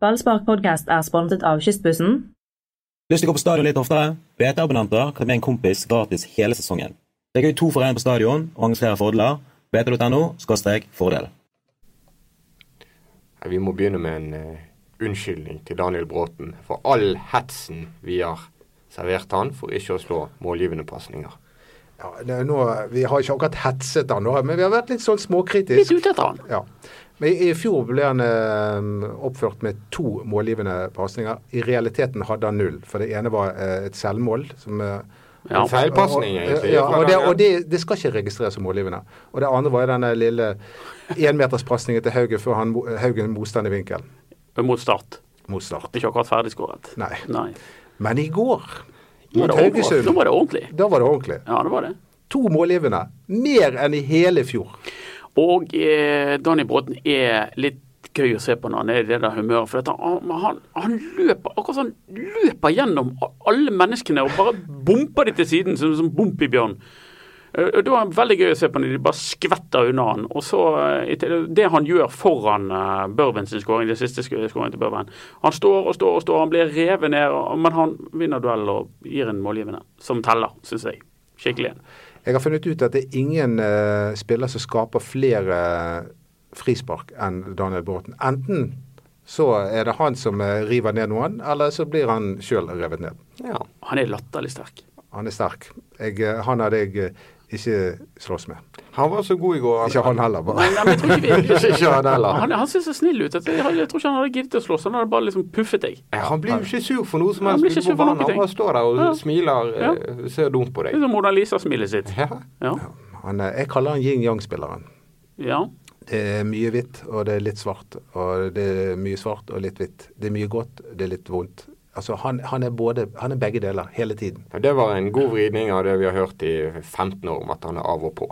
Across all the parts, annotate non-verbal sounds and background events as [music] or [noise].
Ballspark podcast er sponset av Kystbussen. Lyst til å gå på stadion litt oftere? BT-abonnenter kan bli en kompis gratis hele sesongen. Det er gøy to for én på stadion og arrangerer fordeler. BT.no skråstrek fordel. Nei, Vi må begynne med en eh, unnskyldning til Daniel Bråten for all hetsen vi har servert han for ikke å slå målgivende pasninger. Ja, det, er nå, vi har ikke akkurat hetset han, nå, men vi har vært litt sånn småkritisk. Litt ute etter han. Ja. Men I i fjor ble han eh, oppført med to målgivende pasninger. I realiteten hadde han null, for det ene var eh, et selvmål. som... Eh, Ja. En feilpasning, og- egentlig. Ja, og det, fra og Daniel. det, det skal ikke registreres som målgivende. Og det andre var jo denne lille énmeterspasningen til Haugen før han, mo- Haugen motstand i vinkel. Mot Start. Mot start. Ikke akkurat ferdigskåret. Nei. Nei. Men i går, Nå var mot det ordentlig. Nå Haugesund, var det ordentlig. da var det ordentlig. Ja, det var det. To målgivende. Mer enn i hele fjor. Og eh, Danny Bråten er litt gøy å se på når han er i det der humøret. For dette, han, han, han løper akkurat sånn, løper gjennom a- alle menneskene og bare bomper de til siden som, som Bompibjørn. Eh, og Det var veldig gøy å se på når de bare skvetter unna han. Og så eh, i til- Det han gjør foran eh, Børven sin skåring, det siste sk- skåringen til Børven Han står og står og står, han blir revet ned, og- men han vinner duell og gir en målgivende som teller, syns jeg. Skikkelig. Jeg har funnet ut at det er ingen eh, spiller som skaper flere frispark enn Daniel Bråten. Enten så er det han som eh, river ned noen, eller så blir han sjøl revet ned. Ja. Han er latterlig sterk. Han er sterk. Jeg, eh, han hadde jeg eh, ikke slåss med. Han var så god i går. Ikke [laughs] han heller, bare. Nei, men jeg tror ikke vi Ikke- ikke han heller. Han, han ser så snill ut. at Jeg, jeg tror ikke han hadde giddet å slåss. Han hadde bare liksom puffet deg. Ja, Han blir jo ikke sur for noe som Han helst. blir ikke sur ute for på banen. noen ting. Han bare står der og Ja. smiler, eh, ser dum på Det deg. er som Liksom Mona Lisa-smilet sitt. Ja. Ja. Han, eh, jeg kaller han yin-yang-spilleren. ja. Det er mye hvitt, og det er litt svart. Og det er mye svart og litt hvitt. Det er mye godt, det er litt vondt. Altså, han, han, er både, han er begge deler, hele tiden. Ja, Det var en god vridning av det vi har hørt i 15 år om at han er av og på.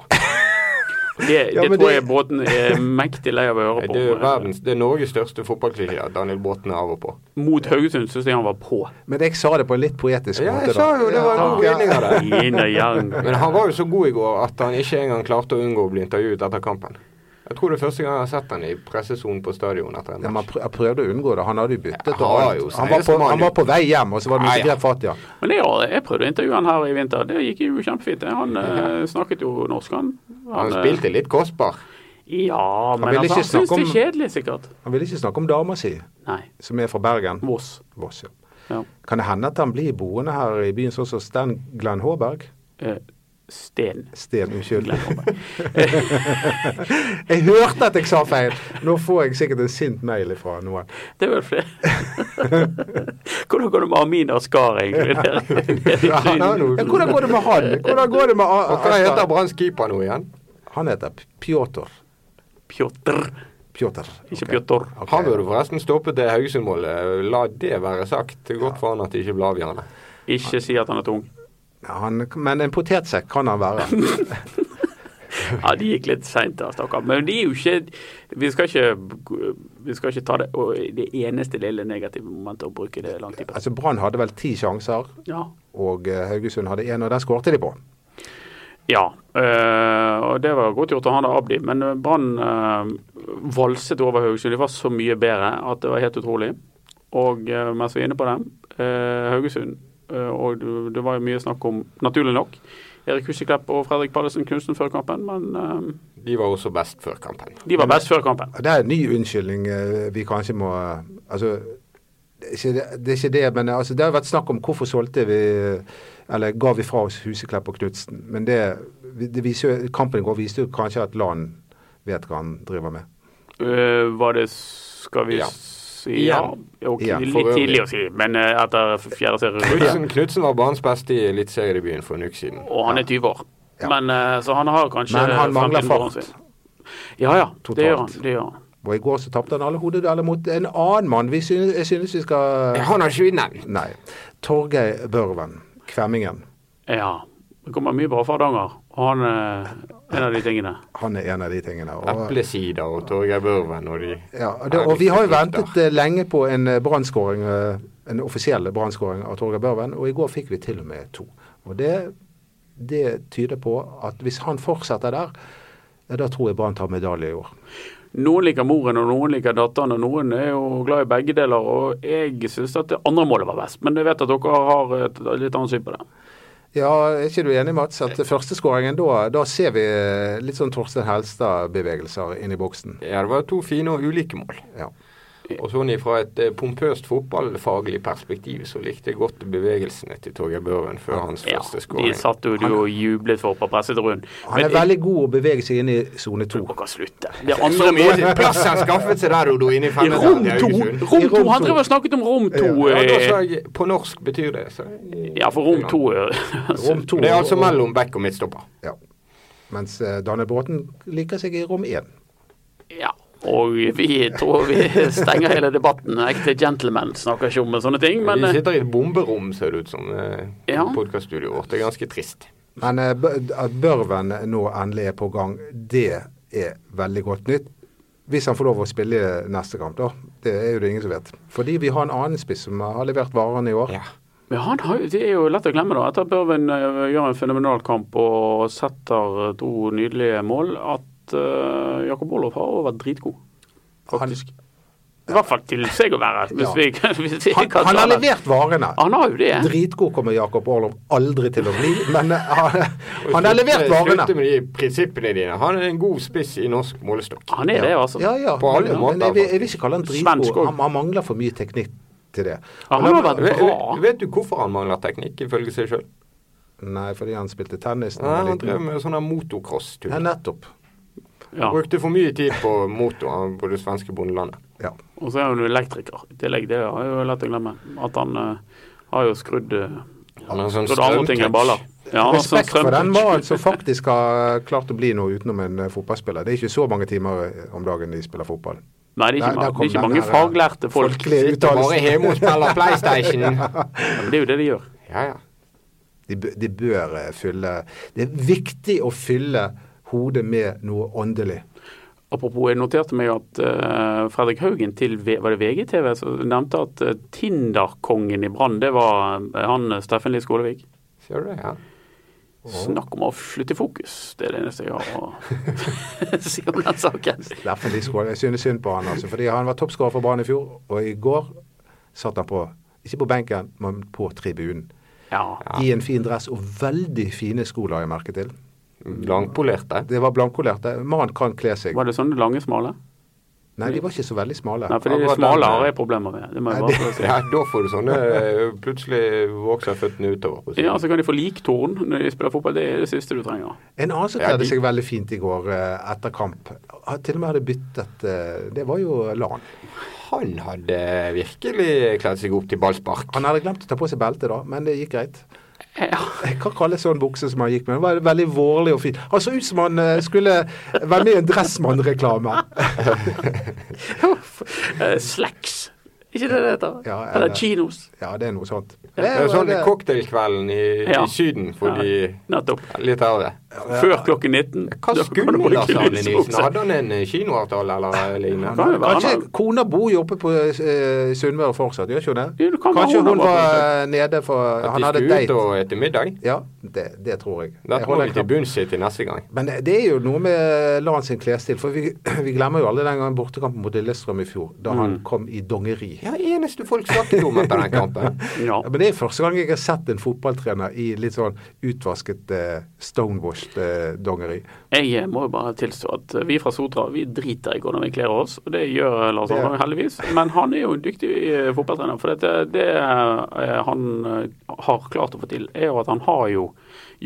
Det, Ja, det men tror det- jeg Bråten er mektig lei av å høre Det er, på. verdens, det er Norges største fotballklisjé at Daniel Bråten er av og på. Mot Haugesund syns jeg han var på. Men jeg sa det på en litt poetisk Ja, måte, jeg sa jo det var en god Ja. vridning av det. [laughs] Yin og yang. Men han var jo så god i går at han ikke engang klarte å unngå å bli intervjuet etter kampen. Jeg tror det er første gang jeg har sett han i pressesonen på stadion etter Ja, en men match. han prø- han prøvde å unngå det. Han hadde jo byttet. Ja, og han var alt. jo han, var på, seriøs mann, han var på vei hjem, og så var det noe Ja, ja. som grep fatt i ham. Men jeg, jeg prøvde å intervjue han her i vinter. Det gikk jo kjempefint. det. Han eh, snakket jo norsk, han. Han eh, spilte litt kostbar. Ja, men ville altså, ikke han syns snakke det er om- kjedelig, sikkert. Han ville ikke snakke om dama si, Nei. som er fra Bergen. Voss. Voss, ja. Ja. Kan det hende at han blir boende her i byen, sånn som Sten Glenn Håberg? Eh, Sten. Sten, unnskyld. [laughs] jeg hørte at jeg sa feil! Nå får jeg sikkert en sint mail fra noen. Det er vel [laughs] flere. Hvordan går det med Amin Askar, egentlig? Ja, han har Ja, noe. hvordan går det med han? Hvordan går det med A- Og Hva A- heter Branns keeper nå igjen? Han heter P- Pjotr. Pjotr. Pjotr. Ikke Ok. Pjotr. Ok. Han burde forresten stoppet det Haugesund-målet. La det være sagt. Det er godt for han at det ikke ble avgjørende. Ikke si at han er tung. Han, men en potetsekk kan han være. Ja, de gikk litt seint der, stakkar. Men de er jo ikke vi, skal ikke vi skal ikke ta det og det eneste lille negative momentet og bruke det lang tid på. Altså Brann hadde vel ti sjanser, Ja. og eh, Haugesund hadde én, og den skårte de på. ja. eh, og det var godt gjort av han da, Abdi. Men eh, Brann eh, valset over Haugesund. De var så mye bedre at det var helt utrolig. Og eh, mens vi er inne på dem, eh, Haugesund eh, Og det- det var jo mye snakk om, naturlig nok, Erik Huseklepp og Fredrik Pallesen Kunsten før kampen, men eh, De var også best før kampen. de var best før kampen. Det er en ny unnskyldning eh, vi kanskje må Altså, det er ikke det, det, er ikke det men eh, altså, det har vært snakk om hvorfor solgte vi eh, Eller ga vi fra oss Huseklepp og Knutsen. Men det, vi- det viser jo, kampen i går viste jo kanskje at Lan vet hva han driver med. Øh, var det Skal vi Ja. si ja? Ok, Ja, litt for øvrig. tidlig å si, men øh, etter f- fjerde serierunde. Knutsen, Knutsen var banens beste i eliteseriedebuten for en uke siden. Og han er 20 år. Ja. Men, øh, så han har kanskje Men han mangler fremtiden foran fart. seg. Ja ja, Totalt. det gjør han. Det gjør han. Og i går så tapte han alle hodedueller mot en annen mann. Vi synes, jeg synes vi skal Han har ikke vi nevnt. Nei. Torgeir Børven. Kvemmingen. Ja. Det kommer mye bra fra Hardanger, og han er en av de tingene. Han er en av de tingene. og- Eplesider og Torgeir Børven og de Ja, og det, og vi har jo ventet eh, lenge på en eh, brannskåring, eh, en offisiell brannskåring av Torgeir Børven, og i går fikk vi til og med to. Og det, det tyder på at hvis han fortsetter der, ja, da tror jeg Brann tar medalje i år. Noen liker moren, og noen liker datteren, og noen er jo glad i begge deler. Og jeg syns at det andre målet var best, men jeg vet at dere har et litt annet syn på det. Ja, er ikke du enig, Mats, at førsteskåringen, da, da ser vi litt sånn Torstein Helstad-bevegelser inn i boksen? Ja, det var to fine og ulike mål. Ja. Og sånn fra et eh, pompøst fotballfaglig perspektiv så likte jeg godt bevegelsene til Torgeir Børven før hans Ja, første de skåring. satt jo du og jublet for på pressetroen. Han er veldig god å bevege seg inn i sone to. Dere kan slutte. Det Så andre målet mye plass han skaffet seg der, Odo, inne i I rom femmeteren til to! Haugesund. Rom to! rom Han to. drev og snakket om rom to. Ja, da eh, sa jeg På norsk betyr det så jeg- Ja, for rom to [laughs] eh, Rom to. Det er altså mellom back og midtstopper. Ja. Mens eh, Daniel Bråten liker seg i rom én. Ja. Og vi tror vi stenger hele debatten. Ekte gentlemen snakker ikke om sånne ting, men De eh, sitter i et bomberom, ser det ut som, eh, i Ja. podcaststudioet vårt. Det er ganske trist. Men eh, Bø- at Børven nå endelig er på gang, det er veldig godt nytt. Hvis han får lov å spille neste kamp, da. Det er jo det ingen som vet. Fordi vi har en annen spiss som har levert varene i år. Ja. eh, men han har, jo- det er jo lett å glemme, da. Etter at Børven eh, gjør en fenomenal kamp og setter to nydelige mål, at eh, Jakob Olof har også vært dritgod. Faktisk. I hvert fall til seg å være. Hvis Ja. vi, hvis vi [laughs] Han, kan han har ta det. levert varene. Han har jo det. Dritgod kommer Jakob Orlov aldri til å bli, men eh, han, [laughs] han har levert Slutte varene. med de prinsippene dine. Han er en god spiss i norsk målestokk. Han er det, altså. Ja, ja. På alle men- måter, Men jeg, vil- jeg vil ikke kalle han Svensk dritgod. også. Han, han mangler for mye teknikk til det. Ja, Og han da- har vært Vet, bra. vet du hvorfor han mangler teknikk, ifølge seg sjøl? Nei, fordi han spilte tennis. da han var Han liten. drev med sånn Ja, motocross-tur. nettopp. Ja. Brukte for mye tid på motor han- på det svenske bondelandet. Ja. Og så er han jo elektriker i tillegg. Det er jo lett å glemme. At han eh, har jo skrudd, eh, Han har sånn skrudd andre ting enn baller. strømtouch. Ja, han har sånn Respekt for den strømtouch. mannen som faktisk har klart å bli noe utenom en eh, fotballspiller. Det er ikke så mange timer eh, om dagen de spiller fotball. Nei, det er Der- der ikke, mange- kom det er ikke den mange her, eh, faglærte folk. folkelige Sitter bare hjemme og spiller [laughs] PlayStation. Men det er jo det de gjør. Ja, ja. De, bø- de bør eh, fylle Det er viktig å fylle hodet med noe åndelig. Apropos, jeg noterte meg at eh, Fredrik Haugen til V- var det VGTV som nevnte at eh, Tinder-kongen i Brann, det var eh, han eh, Steffen Lie Skålevik. Ser du det? Ja. Snakk om å flytte fokus. Det er det eneste jeg har å [laughs] si om den saken. Derfor de skåler. Jeg synes synd på han, altså. Fordi han var toppskårer for Brann i fjor, og i går satt han på ikke på benken, men på tribunen. Ja. I en fin dress og veldig fine sko, la jeg merke til. Langpolerte. Det var blankkolerte. Mannen kan kle seg. Var det sånne lange, smale? Nei, de var ikke så veldig smale. Nei, fordi de Akkurat smale den, har eh, jeg problemer med. Det må jeg Nei, bare få si. Ja, da får du sånne eh, Plutselig vokser føttene utover. på siden. Ja, så kan de få liktorn når de spiller fotball. Det er det siste du trenger. [laughs] En annen som Ja, kledde de- seg veldig fint i går eh, etter kamp, han til og med hadde byttet eh, Det var jo LAN. Han hadde virkelig kledd seg opp til ballspark. Han hadde glemt å ta på seg beltet, da, men det gikk greit. Ja, [laughs] Hva kalles sånn bukse som han gikk med? Den var veldig vårlig og fin. Han så ut som han eh, skulle være med i en Dressmann-reklame. [laughs] eh, Slacks. Ikke det det heter? Ja, eller- Eller chinos. Ja, det er noe sånt. Det er sånn det- cocktailkvelden i, Ja. i Syden for Ja. de Nettopp. litt eldre. Før klokken 19. Hva Da kan du skulle bruke Lars Arne Nilsen? lysbukse. Hadde han en eh, kinoavtale eller lignende? Kan jo være han Kanskje kona bor jo oppe på eh, Sunnmøre fortsatt, gjør ikke hun det? Jo, det kan være Kanskje hun hun har var vært eh, nede for At Han de hadde skulle ut date. og ete middag? Ja, det, det tror jeg. Jeg Dette må holder vi til knapp- bunns i til neste gang. Men det er jo noe med Lan sin klesstil, for vi, [clears throat] vi glemmer jo alle den gangen bortekampen mot Lillestrøm i fjor, da Mm. han kom i dongeri. Ja, eneste folk snakket om etter den kampen. Ja. Men det er første gang jeg har sett en fotballtrener i litt sånn utvasket, eh, stonewashed eh, dongeri. Jeg eh, må jo bare tilstå at eh, vi fra Sotra vi driter i hvordan vi kler oss, og det gjør eh, Lars Arne Det- heldigvis. Men han er jo en dyktig eh, fotballtrener. For det, det eh, han eh, har klart å få til, er jo at han har jo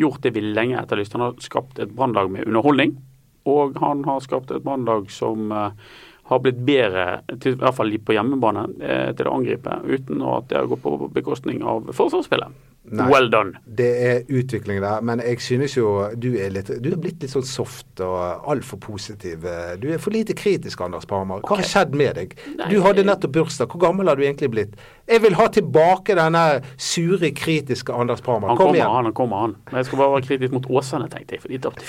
gjort det vi lenge etterlyste. Han har skapt et brannlag med underholdning, og han har skapt et brannlag som eh, har blitt bedre, til, i hvert fall på hjemmebane, eh, til å angripe, uten at det har gått på bekostning av forsvarsspillet. Nei. Well done. Det er utvikling der, men jeg synes jo du er litt Du er blitt litt sånn soft og altfor positiv. eh, Du er for lite kritisk, Anders Parmar. Hva har skjedd med deg? Nei, Du hadde jeg- nettopp bursdag. Hvor gammel har du egentlig blitt? Jeg vil ha tilbake denne sure, kritiske Anders Parmar. Han Kom kommer, igjen. han, han kommer, han. Men jeg skal bare være kritisk mot Åsane, tenkte jeg, for de tapte.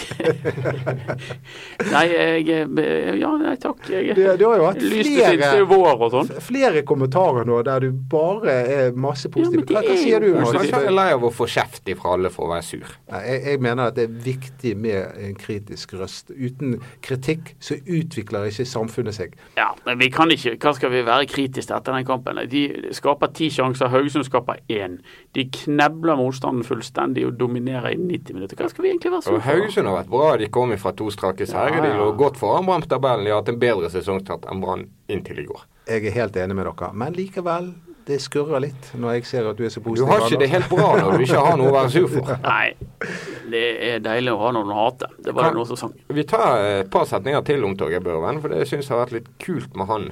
[laughs] Nei, jeg eh, Ja, nei takk. Jeg, Du- du har jo hatt lyste flere- siden til vår og sånn. Flere kommentarer nå der du bare er masse Ja, men positiv. det hva, hva er sier du? jo Mats? positivt. han er lei av å få kjeft ifra alle for å være sur. Nei, jeg, jeg mener at det er viktig med en kritisk røst. Uten kritikk så utvikler ikke samfunnet seg. Ja, men vi kan ikke Hva skal vi være kritiske til etter den kampen? De skaper ti sjanser, Haugesund skaper én. De knebler motstanden fullstendig og dominerer i 90 minutter. Hva skal vi egentlig være Og sure for? Haugesund har vært bra. De kom fra to strake seire. Ja, ja. De lå godt foran Brann på tabellen. De har hatt en bedre sesongstart enn Brann inntil i går. Jeg er helt enig med dere, men likevel, det skurrer litt når jeg ser at du er så Du positiv. har ikke det Anders. helt bra når du ikke har noe å være sur for. Nei, det er deilig å ha noen å hate. Det var Kan- jo noe som sang. Vi tar eh, et par setninger til om Torgeir Børven, for det syns jeg har vært litt kult med han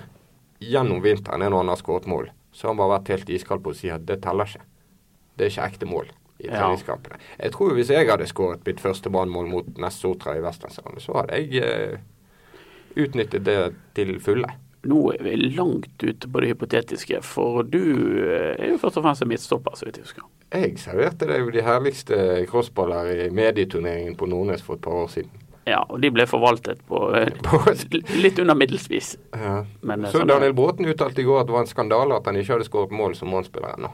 gjennom vinteren når han har skåret mål. Så har han bare vært helt iskald på å si at det teller ikke. Det er ikke ekte mål i Ja. treningskampene. Jeg tror hvis jeg hadde skåret mitt første brannmål mot Nest Sotra i Vestlandshallen, så hadde jeg eh, utnyttet det til fulle. Nå er vi langt ute på det hypotetiske, for du eh, er jo først og fremst en midtstopper, så vidt jeg husker. Jeg serverte deg jo de herligste crossballer i medieturneringen på Nordnes for et par år siden. Ja, og de ble forvaltet på eh, [laughs] litt under middelspis. Ja. Men, eh, så sånn er- Daniel Bråten uttalte i går at det var en skandale at han ikke hadde skåret mål som målspiller ennå.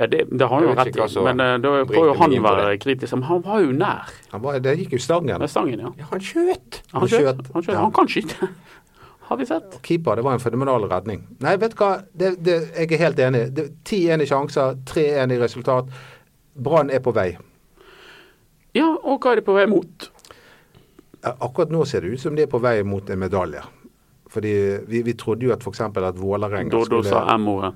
Ja, det, det har han jo Jeg vet rett ikke hva i, som men eh, da bringte får jo han meg inn på være kritisk. Men han var jo nær Han var, det gikk jo stangen. med stangen, ja. Ja, han skjøt! Han Han skjøt. skjøt. Han, skjøt. Ja. han kan skyte. [laughs] Har vi sett. Keeper, det var en fenomenal redning. Nei, vet du hva, det, det, jeg er helt enig. Det- 10-1 i sjanser, 3-1 i resultat. Brann er på vei. Ja, og hva er de på vei mot? Ja, Akkurat nå ser det ut som de er på vei mot en medalje. Fordi vi, vi trodde jo at f.eks. at Vålerenga Dodo sa skulle M-ordet.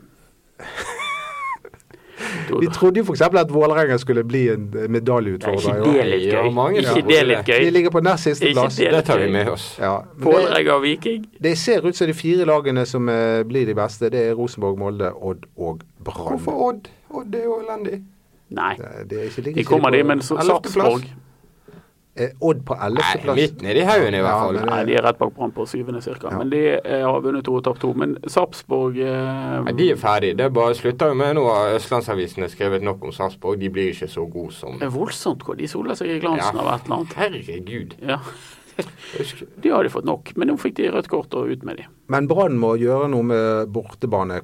Vi Dodo. trodde jo for eksempel at Vålerenga skulle bli en Er medaljeutfordrer. ikke i år. det litt Ja, mange gøy? som Ikke det tror litt det. De gøy? ligger på nest siste Ikke plass. det. Det tar vi med oss. Ja, men det, Vålerenga og Viking? det ser ut som de fire lagene som eh, blir de beste. Det er Rosenborg, Molde, Odd og Brann. Hvorfor Odd? Odd er jo elendig. Nei. Eh, Det er ikke, ligger De ikke kommer, på- de, men så- Ellevte plass. Sarpsborg Eh, Odd på Nei, ellevteplass. midten i de haugen i hvert Ja, fall. men- eh, Nei, de er rett bak Brann på syvende cirka. Ja. Men de eh, har vunnet to og tapt to. Men Sarpsborg eh, Nei, de er ferdige. Det er bare slutter jo med nå har Østlandsavisene skrevet nok om Sarpsborg. De blir ikke så gode som er voldsomt hvor de soler seg i glansen av et eller annet. Herregud. Ja, Husk, De hadde fått nok, men nå fikk de rødt kort og ut med de. Men Brann må gjøre noe med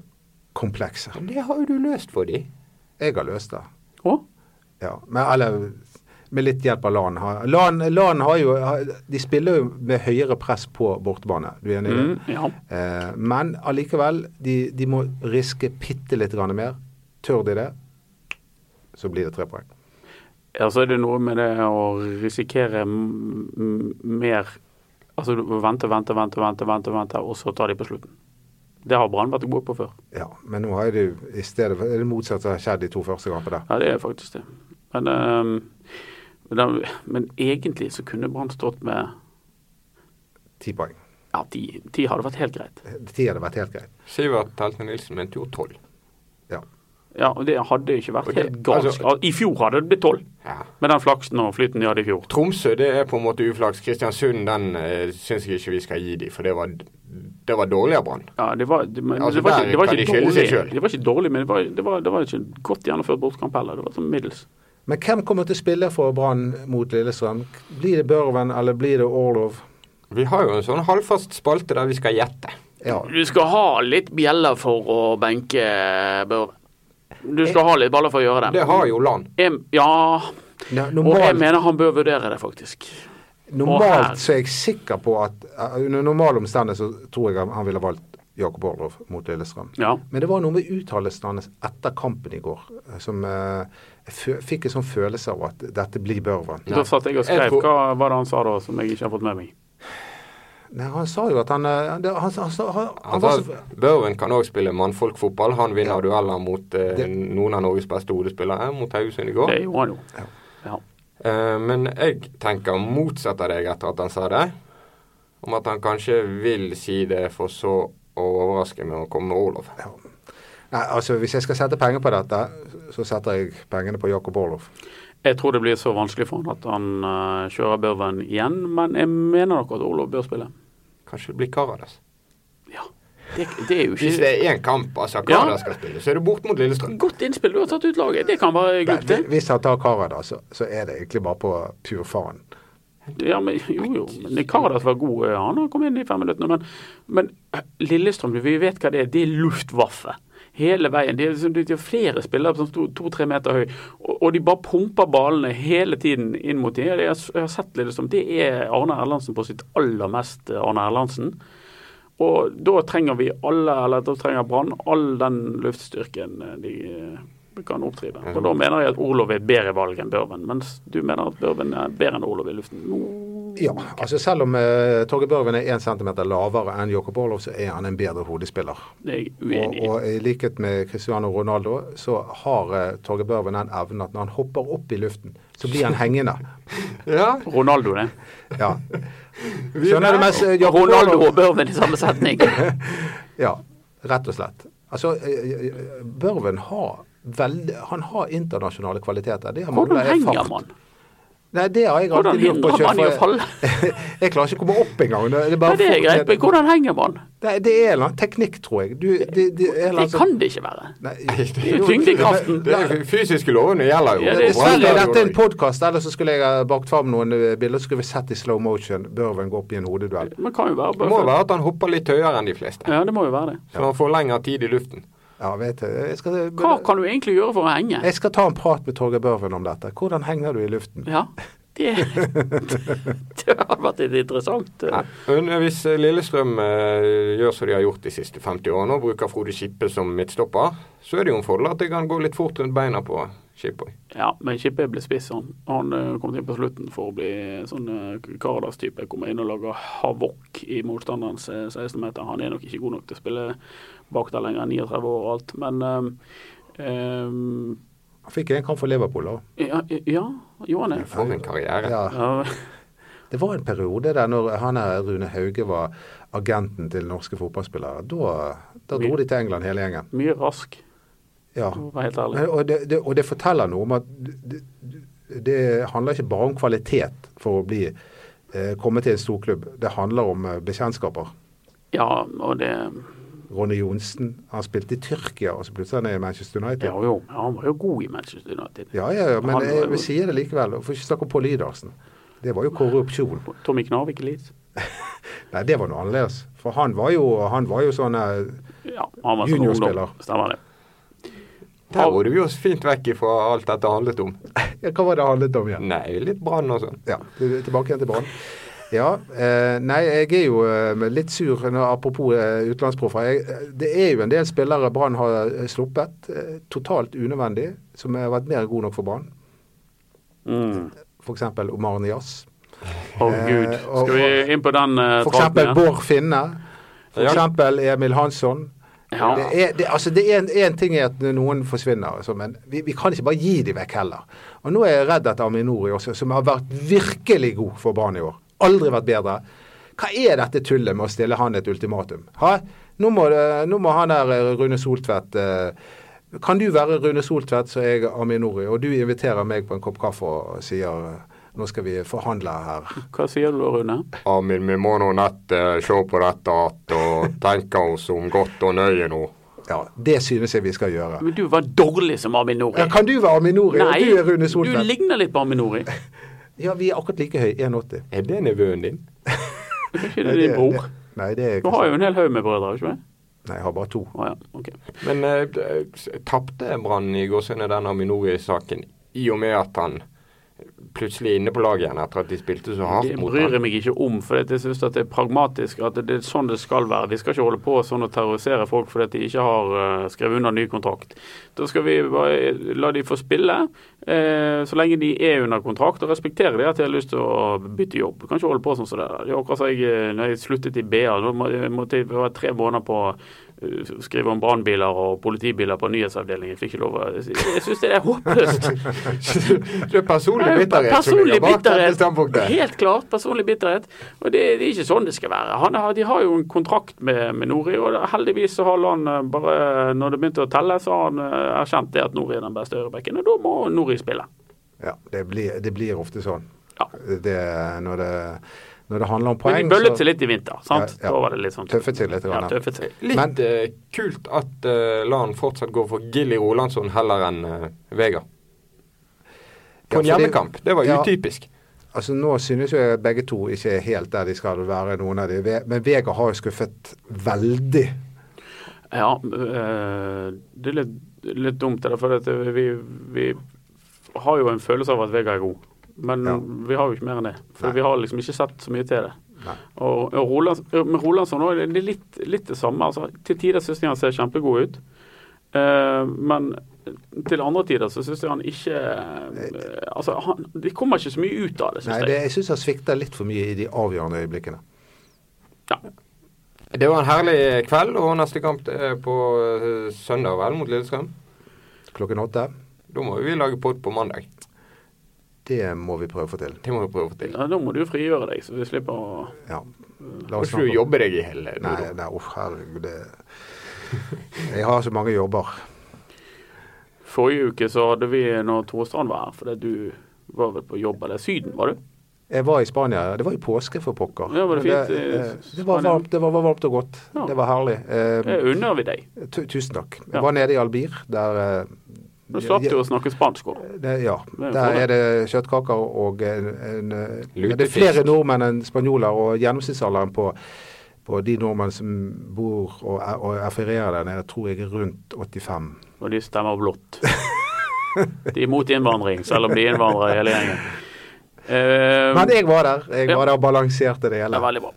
bortebanekomplekset. men det har jo du løst for de. Jeg har løst det. Og? Ja, men, eller med litt hjelp av LAN. har- LAN, LAN har jo har- De spiller jo med høyere press på bortebane, du er enig i det? Mm, ja. Eh, men allikevel, de, de må riske bitte litt grann mer. Tør de det, så blir det tre poeng. Ja, så er det noe med det å risikere m m mer Altså du må vente, vente, vente, vente, vente, vente, og så tar de på slutten. Det har Brann vært gode på før. Ja, men nå har de jo i stedet for, er det motsatt som har skjedd de to første kampene. Ja, det er faktisk det. Men, ehm, men, da- men egentlig så kunne Brann stått med Ti poeng. Ja, ti, ti hadde vært helt greit. Ti hadde vært helt greit. Sivert Heltne Nilsen mente jo tolv. Ja. Ja, og Det hadde ikke vært Og det- helt galsk. altså- I fjor hadde det blitt tolv, Ja. med den flaksen og flyten de hadde i fjor. Tromsø det er på en måte uflaks. Kristiansund den eh, syns jeg ikke vi skal gi de, for det var, det var dårlig av Brann. Ja, det var, det, men Altså, det var der ikke, det var kan ikke de skylde seg dårlig, selv. det var ikke dårlig, men det var, det var, det var ikke en godt gjennomført bortkamp heller. Det var sånn middels. Men hvem kommer til å spille for Brann mot Lillestrøm? Blir det Børven, eller blir det Orlov? Vi har jo en sånn halvfast spalte der vi skal gjette. Ja. Du skal ha litt bjeller for å benke Børven. Du skal ha litt baller for å gjøre det. Det har jo Lan. Jeg, ja, Ja, og jeg Normalt mener han bør vurdere det, faktisk. Og her- Normalt så er jeg sikker på at eh, under normale omstendigheter så tror jeg han- han ville valgt Jakob Orlov mot Lillestrøm. Ja. Men det var noe med uttalelsen hans etter kampen i går eh, som eh, jeg fø- fikk en sånn følelse av at dette blir Børven. Da satt jeg og skrev. Jeg tror- Hva var det han sa da som jeg ikke har fått med meg? Nei, han sa jo at han eh, det- Han, han, sa- han, han Altså, var så Børven kan òg spille mannfolkfotball. Han vinner dueller mot eh, Det- noen av Norges beste hodespillere, mot Haugesund i går. Det gjorde han jo. Ja. Eh, men jeg tenker motsetter deg etter at han sa det, om at han kanskje vil si det for så å overraske med å komme med Olof. Nei, altså Hvis jeg skal sette penger på dette, så setter jeg pengene på Jakob Orlov. Jeg tror det blir så vanskelig for han at han eh, kjører Børven igjen, men jeg mener nok at Olav bør spille. Kanskje det blir Karadas. Ja. Det, det er jo Hvis ikke det er én kamp altså Ja. Karadas skal spille, så er det bort mot Lillestrøm. Godt innspill, du har tatt ut laget. Det kan være Nei, gutt, det. Hvis han tar Kara, da, så, så er det egentlig bare på pur faen. Ja, men, jo, jo. Men Karadas var god. eh, Han kom inn i fem minutter. Men, men Lillestrøm, vi vet hva det er. Det er luftvaffe. hele veien. De er, liksom, de de har flere spillere som sto to-tre meter høy, og, og de bare pumper ballene hele tiden inn mot dem. Jeg, har- jeg har sett litt som Det er Arne Erlandsen på sitt aller mest eh, Arne Erlandsen. Og da trenger vi alle, eller da trenger Brann all den luftstyrken eh, de eh, kan oppdrive. Og da mener jeg at Orlov er bedre valg enn Børven, mens du mener at Børven er bedre enn Orlov i luften. Ja, altså selv om uh, Torgeir Børven er 1 cm lavere enn Jakob Orlov, så er han en bedre hodespiller. Det er jeg Og, uenig i. og i likhet med Cristiano Ronaldo, så har uh, Torgeir Børven den evnen at når han hopper opp i luften, så blir han [laughs] hengende. Ja, Ronaldo, det. Ja. Skjønner du mens eh, Jakob Ronaldo Orlov og Børven i samme setning. Ja, rett og slett. Altså, eh, eh, Børven har veldig Han har internasjonale kvaliteter. Det han Hvordan mangler er henger fart. man? Nei, det har jeg Hvordan alltid lurt på hindrer man i å selv, for falle? jeg, [laughs] jeg klarer ikke å komme opp engang. Det er, Nei, bare det er fort greit, ned. men hvordan henger man? Nei, det er en eller annen teknikk, tror jeg. Du, det, det er en eller Det annen sånn- kan det ikke være. [laughs] Nei, er jo tyngdekraften. Men- det er jo fysiske lovene gjelder jo. Ja, det er Dessverre er dette en på... podkast, ellers så skulle jeg ha bakt fram noen eh, bilder så skulle vi sett i slow motion Børven gå opp i en hodeduell. Man kan jo være Det må Børven. være at han hopper litt høyere enn de fleste, Ja, det må jo være det. så han får lengre tid i luften. Ja, vet du. Jeg skal, Hva kan du egentlig gjøre for å henge? jeg skal ta en prat med Torgeir Børven om dette. Hvordan henger du i luften? Ja, det, [laughs] det har vært litt interessant. Nei. Men hvis eh, Lillestrøm eh, gjør som de har gjort de siste 50 årene og bruker Frode Skippe som midtstopper, så er det jo en fordel at det kan gå litt fort rundt beina på Skippe. Ja, men Kippe ble spiss. Han, han eh, kom inn på slutten for å bli sånn eh, Karadas-type. Kommer inn og lager havokk i motstanderens eh, 16 meter. Han er nok ikke god nok til å spille bak der lenger, 39 år og alt. Men eh, eh, Han fikk en kamp for Liverpool òg. ja, ja, gjorde han det? For en karriere. Ja. Ja, [laughs] Det var en periode der når han her, Rune Hauge var agenten til norske fotballspillere. Da, da dro de til England hele gjengen. mye rask, Ja. for å være helt ærlig. Men, og, det, det, og det forteller noe om at det, det- det handler ikke bare om kvalitet for å bli, eh, komme til en storklubb. Det handler om eh, bekjentskaper. Ja, og det Ronny Johnsen, han spilte i Tyrkia, og så plutselig er han i Manchester United. Ja, jo, han var jo god i Manchester United. Ja, ja, ja, men Han var jeg, jo- vi sier det likevel. og Får ikke snakke om Pål Idarsen. Det var jo korrupsjon. Tommy Knarvik litt. Nei, det var noe annerledes. For han var jo, han var jo sånn eh, Ja, han var sånn Juniorspiller. ungdom. Stemmer det. Der var du jo fint vekk ifra alt dette handlet om. ja, Hva var det det handlet om igjen? Nei, litt brann og sånn. Ja, til- tilbake igjen til Brann. Ja, eh, nei, jeg er jo eh, litt sur når, apropos eh, utenlandsproffer. Jeg- eh, Det er jo en del spillere Brann har eh, sluppet, eh, totalt unødvendig, som har vært mer god nok for Brann. Mm. F.eks. Omar Nias. Å gud. Eh, og- Skal vi inn på den eh, F.eks. tralten her? Bård Finne. F.eks. Emil Hansson. Ja. Det er, det, altså det er en, en ting er at noen forsvinner, altså, men vi, vi kan ikke bare gi de vekk heller. Og nå er jeg redd at Aminori også, som har vært virkelig god for Brann i år, aldri vært bedre. Hva er dette tullet med å stille han et ultimatum? Hæ? Nå, må, det- nå må han der eh, Rune Soltvedt eh, Kan du være Rune Soltvedt, så er jeg Aminori, og du inviterer meg på en kopp kaffe og sier eh, nå skal vi forhandle her. Hva sier du, Rune? Amin, vi må nå nett eh, se på dette att og tenke oss om godt og nøye nå. Ja, Det synes jeg vi skal gjøre. Men du var dårlig som Aminori. Ja, kan du være Aminori, Nei, og du er Rune du Soltvedt? ligner litt på [laughs] Aminori. Ja, vi er akkurat like høy, 1,80. Er det nevøen din? Ikke det din bror? det- Nei, det er Du har jo en hel haug med brødre, har du ikke det? Nei, jeg har bare to. [laughs] Å ja, ok. Men eh, d- eh, tapte Brann i gårsdagen den Aminori-saken i og med at han plutselig er inne på laget igjen etter at de spilte så hardt Det mot bryr ham? jeg meg ikke om, for jeg syns det er pragmatisk. at det er sånn det skal være. Vi skal ikke holde på sånn og terrorisere folk fordi at de ikke har eh, skrevet under ny kontrakt. Da skal vi bare la de få spille, eh, så lenge de er under kontrakt, og respektere det at de har lyst til å bytte jobb. Vi kan ikke holde på sånn som det der. Det er akkurat som jeg, eh, når jeg sluttet i BA, da må- jeg måtte jeg være tre måneder på eh, å skrive om brannbiler og politibiler på nyhetsavdelingen. Fikk ikke lov å Jeg syns det er håpløst. det er personlig Nei, bitterhet som personlig ligger bak dette bitterhet. standpunktet. Helt klart personlig bitterhet. Og det, det er ikke sånn det skal være. Han har, de har jo en kontrakt med, med Nori, og heldigvis så har han eh, bare Når det begynte å telle, så har han eh, erkjent det at Nori er den beste høyrebekken, og da må Nori spille. Ja, det blir, det blir ofte sånn. Ja. Det, når, det, når det handler om Men poeng, de bøllet seg litt i vinter, sant? Ja, ja. Da var det litt sånn Tøffet seg litt, Ja, grann. tøffet seg. Litt Men- eh, kult at eh, Lan fortsatt går for Gilly Rolandsson heller enn eh, Vegard. På en Ja, fordi- hjemmekamp. Det var Ja. utypisk. Altså Nå synes jo jeg begge to ikke er helt der de skal være, noen av de. Ve- Men Vegard har jo skuffet veldig. Ja, eh, det er litt, litt dumt. det der, For at vi, vi har jo en følelse av at Vega er god. Men Ja. vi har jo ikke mer enn det. For Nei. vi har liksom ikke sett så mye til det. Nei. Og, og Roland, med Rolandsson òg er det litt, litt det samme. Altså, til tider syns jeg han ser kjempegod ut. Eh, men til andre tider så syns jeg han ikke eh, Altså, han, de kommer ikke så mye ut av Nei, det, syns det, jeg. jeg syns han svikter litt for mye i de avgjørende øyeblikkene. Ja. Det var en herlig kveld, og neste kamp er på eh, søndag vel mot Lillestrøm. Klokken åtte. Da må jo vi lage pod på mandag. Det må vi prøve å få til. Det må vi prøve å få til. Ja, Da må du frigjøre deg, så vi slipper å Ja. La Må ikke snakke du om- jobbe deg i hele Nei, Dodo? nei, uff, herregud. Det... [laughs] Jeg har så mange jobber. Forrige uke så hadde vi når Tore Strand var her, fordi du var vel på jobb eller Syden, var du? Jeg var i Spania. Det var jo påske, for pokker. Ja, var det fint i Det, eh, det var Spania? varmt, det var, var varmt og godt. Ja. Det var herlig. Det Eh, unner vi deg. tu- tusen takk. Jeg Ja. var nede i Albir, der eh, Nå slapp du å snakke spansk òg. det, Ja. er Der en fordel. er det kjøttkaker og en, en eh, Lutefisk. Det er flere nordmenn enn spanjoler, og gjennomsnittsalderen på på de nordmenn som bor og, er- og er ferierer der nede, tror jeg er rundt 85. Og de [laughs] stemmer blått. De er imot innvandring, selv om de er innvandrere hele gjengen. Eh, Men jeg var der. Jeg Ja. var der og balanserte det det hele. er veldig bra.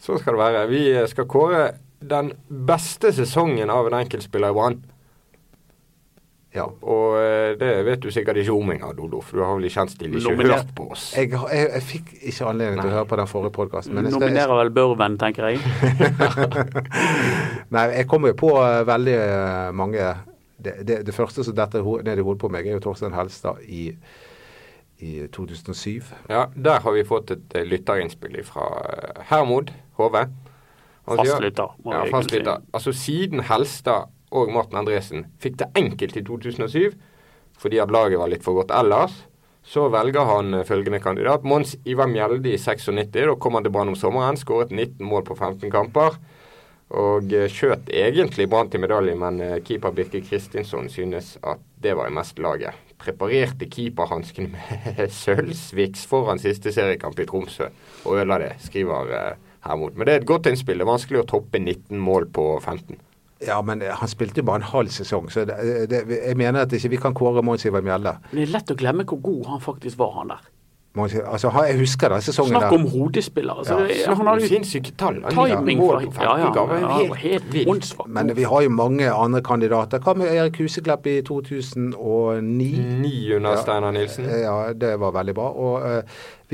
Så skal det være. Vi eh, skal kåre den beste sesongen av en enkeltspiller i Brann. Ja. Og eh, det vet du sikkert ikke om engang, Dodo, for du har vel i kjent stil ikke Nominert. hørt på oss. Jeg, har- jeg, jeg fikk ikke anledning til å Nei. høre på den forrige podkasten. Men jeg, skal, Nominerer vel Børven, tenker jeg. [laughs] nei, jeg kommer jo på eh, veldig eh, mange det, det, det første som detter ho- ned i hodet på meg, er jo Torstein Helstad i, i 2007. Ja, der har vi fått et eh, lytterinnspill fra eh, Hermod Hove. Han sier- Fastlytter, må Ja, jeg fast egentlig lytter. Altså siden Helstad og Martin Andresen fikk det enkelt i 2007 fordi at laget var litt for godt ellers, så velger han eh, følgende kandidat. Mons Ivar Mjelde i 96. Da kom han til Brann om sommeren, skåret 19 mål på 15 kamper. Og eh, skjøt egentlig Brann til medalje, men eh, keeper Birke Kristinsson synes at det var i mest laget. Preparerte keeperhanskene med [laughs] sølvsviks foran siste seriekamp i Tromsø og ødela det, skriver eh, Hermod. Men det er et godt innspill. Det er vanskelig å toppe 19 mål på 15. Ja, men eh, han spilte jo bare en halv sesong, så det, eh, det, jeg mener at ikke vi kan kåre Mons Ivar Mjelde. Men det er lett å glemme hvor god han faktisk var, han der. Mons, altså, ha- jeg husker den sesongen Snakk der. om hodespillere. Altså, Ja, det er- Snakk han om hadde jo sinnssyke tall. Han gikk timing mål fra på 15 Ja, ja. kamper. ja, Det er Helt vilt. åndssvakt. Men vi har jo mange andre kandidater. Hva med Erik Huseklepp i 2009? Mm. Ni under Steinar Nilsen. Eh, Ja, det var veldig bra. Og eh,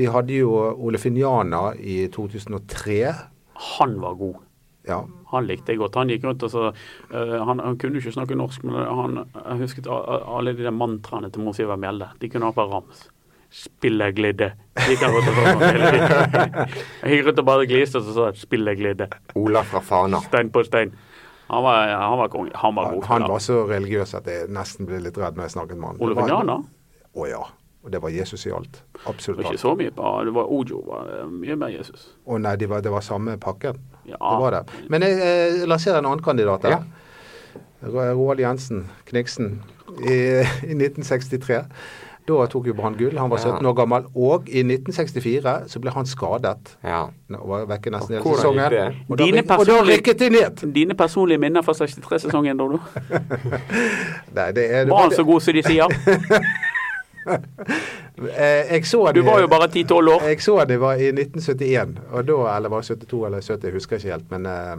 vi hadde jo Ole Finjana i 2003. Han var god. Ja. Han likte jeg godt. Han gikk rundt og så eh, han, han kunne jo ikke snakke norsk, men han, han husket a- a- alle de der mantraene til Mons Ivar Mjelde. De kunne han bare rams. Spilleglidde. De kan rundt og sånn hele tiden. Han gikk rundt og bare gliste og så sa han, spilleglidde. Ola fra Fana. Stein på stein. Han var, han var konge. Han var Han, god. han spiller. var så religiøs at jeg nesten ble litt redd når jeg snakket med han. Ole Det var- Vignana? Å ja. Og det var Jesus i alt. Det Absolutt var ikke alt. så mye på Det var Ojo var eh, mye mer Jesus. Å nei, det var, det var samme pakken. Ja. Det var det. Men jeg, jeg lanserer en annen kandidat her. Ja. Ro- Roald Jensen Kniksen i, i 1963. Da tok jo Brann gull. Han var Ja. 17 år gammel. Og i 1964 så ble han skadet. Ja. Og var vekke nesten hele Hvordan gikk sesongen. det? Og da, Dine ryk- og da personlige- rykket de ned! Dine personlige minner fra 63-sesongen, Dodo? Nei, det er det Var var- han så god som de [laughs] sier? Eh, Jeg så Du det- var jo bare 10-12 år. Jeg så det var i 1971, og da, eller var det 72 eller 70, jeg husker ikke helt. Men eh,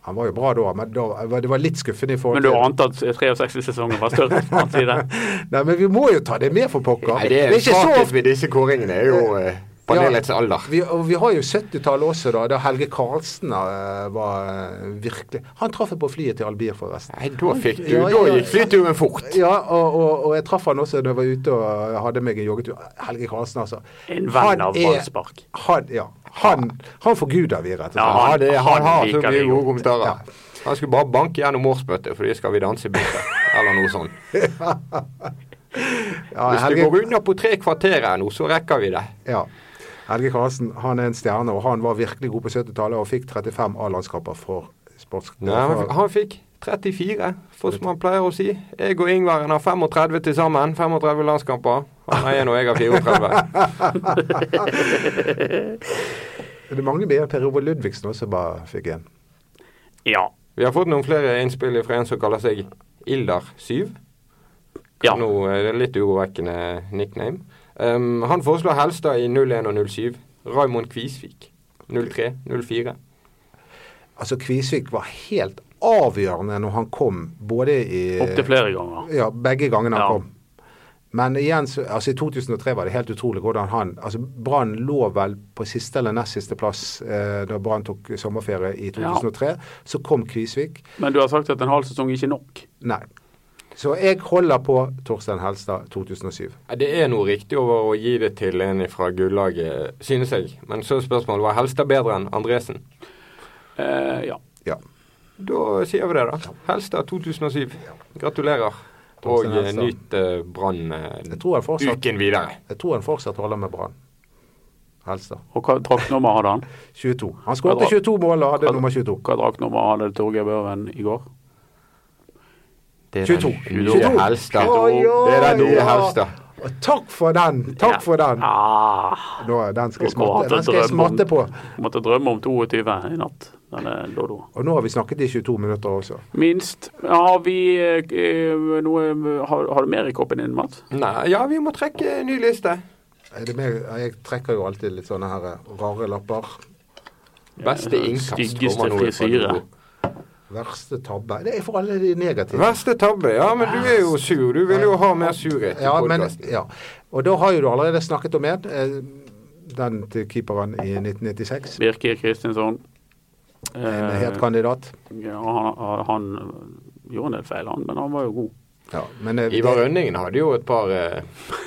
han var jo bra da, men da, var- det var litt skuffende i forhold Men du ante at 63-sesongen var større på hans side? Nei, men vi må jo ta det med for pokker. Nei, det er en ikke så svakhet ofte- ved disse kåringene, er jo eh, panelets Ja, alder. Vi, og vi har jo 70-tallet også, da. Da Helge Karlsen eh, var eh, virkelig Han traff jeg på flyet til Albir, forresten. Nei, da fikk du Ja, ja, Da ja. gikk flyturen fort. Ja, og, og, og jeg traff han også da jeg var ute og hadde meg en joggetur. Helge Karlsen, altså. En Han venn av er- ballspark. Han, ja. Han, han forguder vi, rett og Ja, slett. Ja, det, han han har så liker mye det gode godt. kommentarer. Han skulle bare banke gjennom årsbøtter, for de skal vi danse i bussen, eller noe sånt. Ja, Hvis du Helge, går unna på tre kvarter her nå, så rekker vi det. ja. Helge Karlsen han er en stjerne, og han var virkelig god på 70-tallet og fikk 35 A-landskamper for sports... Nei, han, for- han fikk 34, for som han pleier å si. Jeg og Ingvaren har 35 til sammen. 35 landskamper. Han er en, og jeg har 34. [laughs] Det er mange mer. Per Ove Ludvigsen også bare fikk en. Ja. Vi har fått noen flere innspill fra en som kaller seg Ildar7. Ja. Nå er det litt urovekkende nickname. Um, han foreslår Helstad i 01 og 07. Raymond Kvisvik 03, 04. Altså, Kvisvik var helt avgjørende når han kom, både i Opptil flere ganger. Ja, begge gangene han Ja. kom. Men igjen, så, altså i 2003 var det helt utrolig hvordan han altså Brann lå vel på siste eller nest siste plass eh, da Brann tok sommerferie i 2003. Så kom Kvisvik. Men du har sagt at en halv sesong ikke er nok. Nei. Så jeg holder på Torstein Helstad 2007. Ja, Det er noe riktig over å gi det til en fra gullaget, synes jeg. Men så er spørsmålet var Helstad bedre enn Andresen. Eh, ja. Ja. Da sier vi det, da. Helstad 2007. Gratulerer. Og Torstein eh, Helstad. nyt eh, Brann eh, Jeg tror han fortsatt, uken videre. jeg tror han fortsatt holder med Brann. Helstad. Og hva draktnummer hadde han? 22. Han skåret 22 mål og hadde nummer 22. Hva draktnummer hadde Torgeir Børven i går? Det er den 22. nye 22. Helstad. Oi, oi, Det er den nye ja. Helstad. Og takk for den! Takk for den! Ah, Nå, den skal jeg Nå smatte, har han den skal jeg drømmen. smatte på. måtte drømme om 22 i natt, denne Dodo. Og nå har vi snakket i 22 minutter også. Minst. Har vi eh, eh, noe har, har du mer i koppen din, Mats? Nei, ja, vi må trekke en ny liste. Er det meg? Jeg trekker jo alltid litt sånne her eh, rare lapper. Beste Ja, innkast. styggeste kommer nå fra frisyre. Dodo. Verste tabbe Det er for alle de negative. Verste tabbe. Ja, men du er jo sur. Du vil jo ha mer surhet i Ja, men, podkasten. ja. Og da har jo du allerede snakket om en. eh, Den til keeperen i 1996. Birkir Kristinsson. En Eh, het kandidat. ja, han, han eh, gjorde en del feil, han, men han var jo god. Ja, men, eh, Ivar det- Rønningen hadde jo et par eh,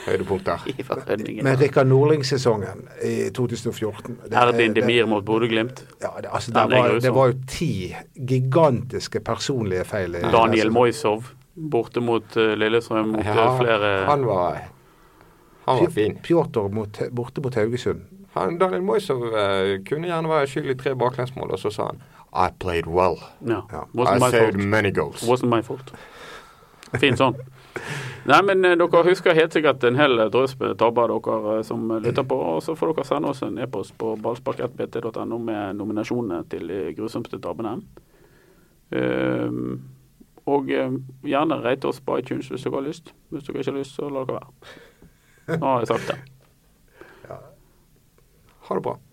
høydepunkter. Ivar Rønningen. men Rikard Nordling-sesongen i 2014 det- Erdin det- Demir mot Bodø-Glimt. Ja, det, altså, Den det, er var, grusom. det var jo ti gigantiske personlige feil. i den Daniel sesongen. Moisov borte mot eh, Lillestrøm mot eh, Ja, flere han var Han var Pj- fin. Pjotr mot, borte mot Haugesund. Han, Daniel Moisov eh, kunne gjerne være skyld i tre baklengsmål, og så sa han I played well. ja. Ja. I Wasn't my saved fault. many goals. Wasn't my fault. Fint sånn. Nei, men eh, dere husker helt sikkert en hel eh, drøss med tabber dere eh, som lytter på. Og så får dere sende oss en e-post på ballspark1bt.no med nominasjonene til de grusomste tabbene. Ehm, og eh, gjerne rate oss på iTunes hvis dere har lyst. Hvis dere ikke har lyst, så la dere være. Nå har jeg sagt det. Ha det bra.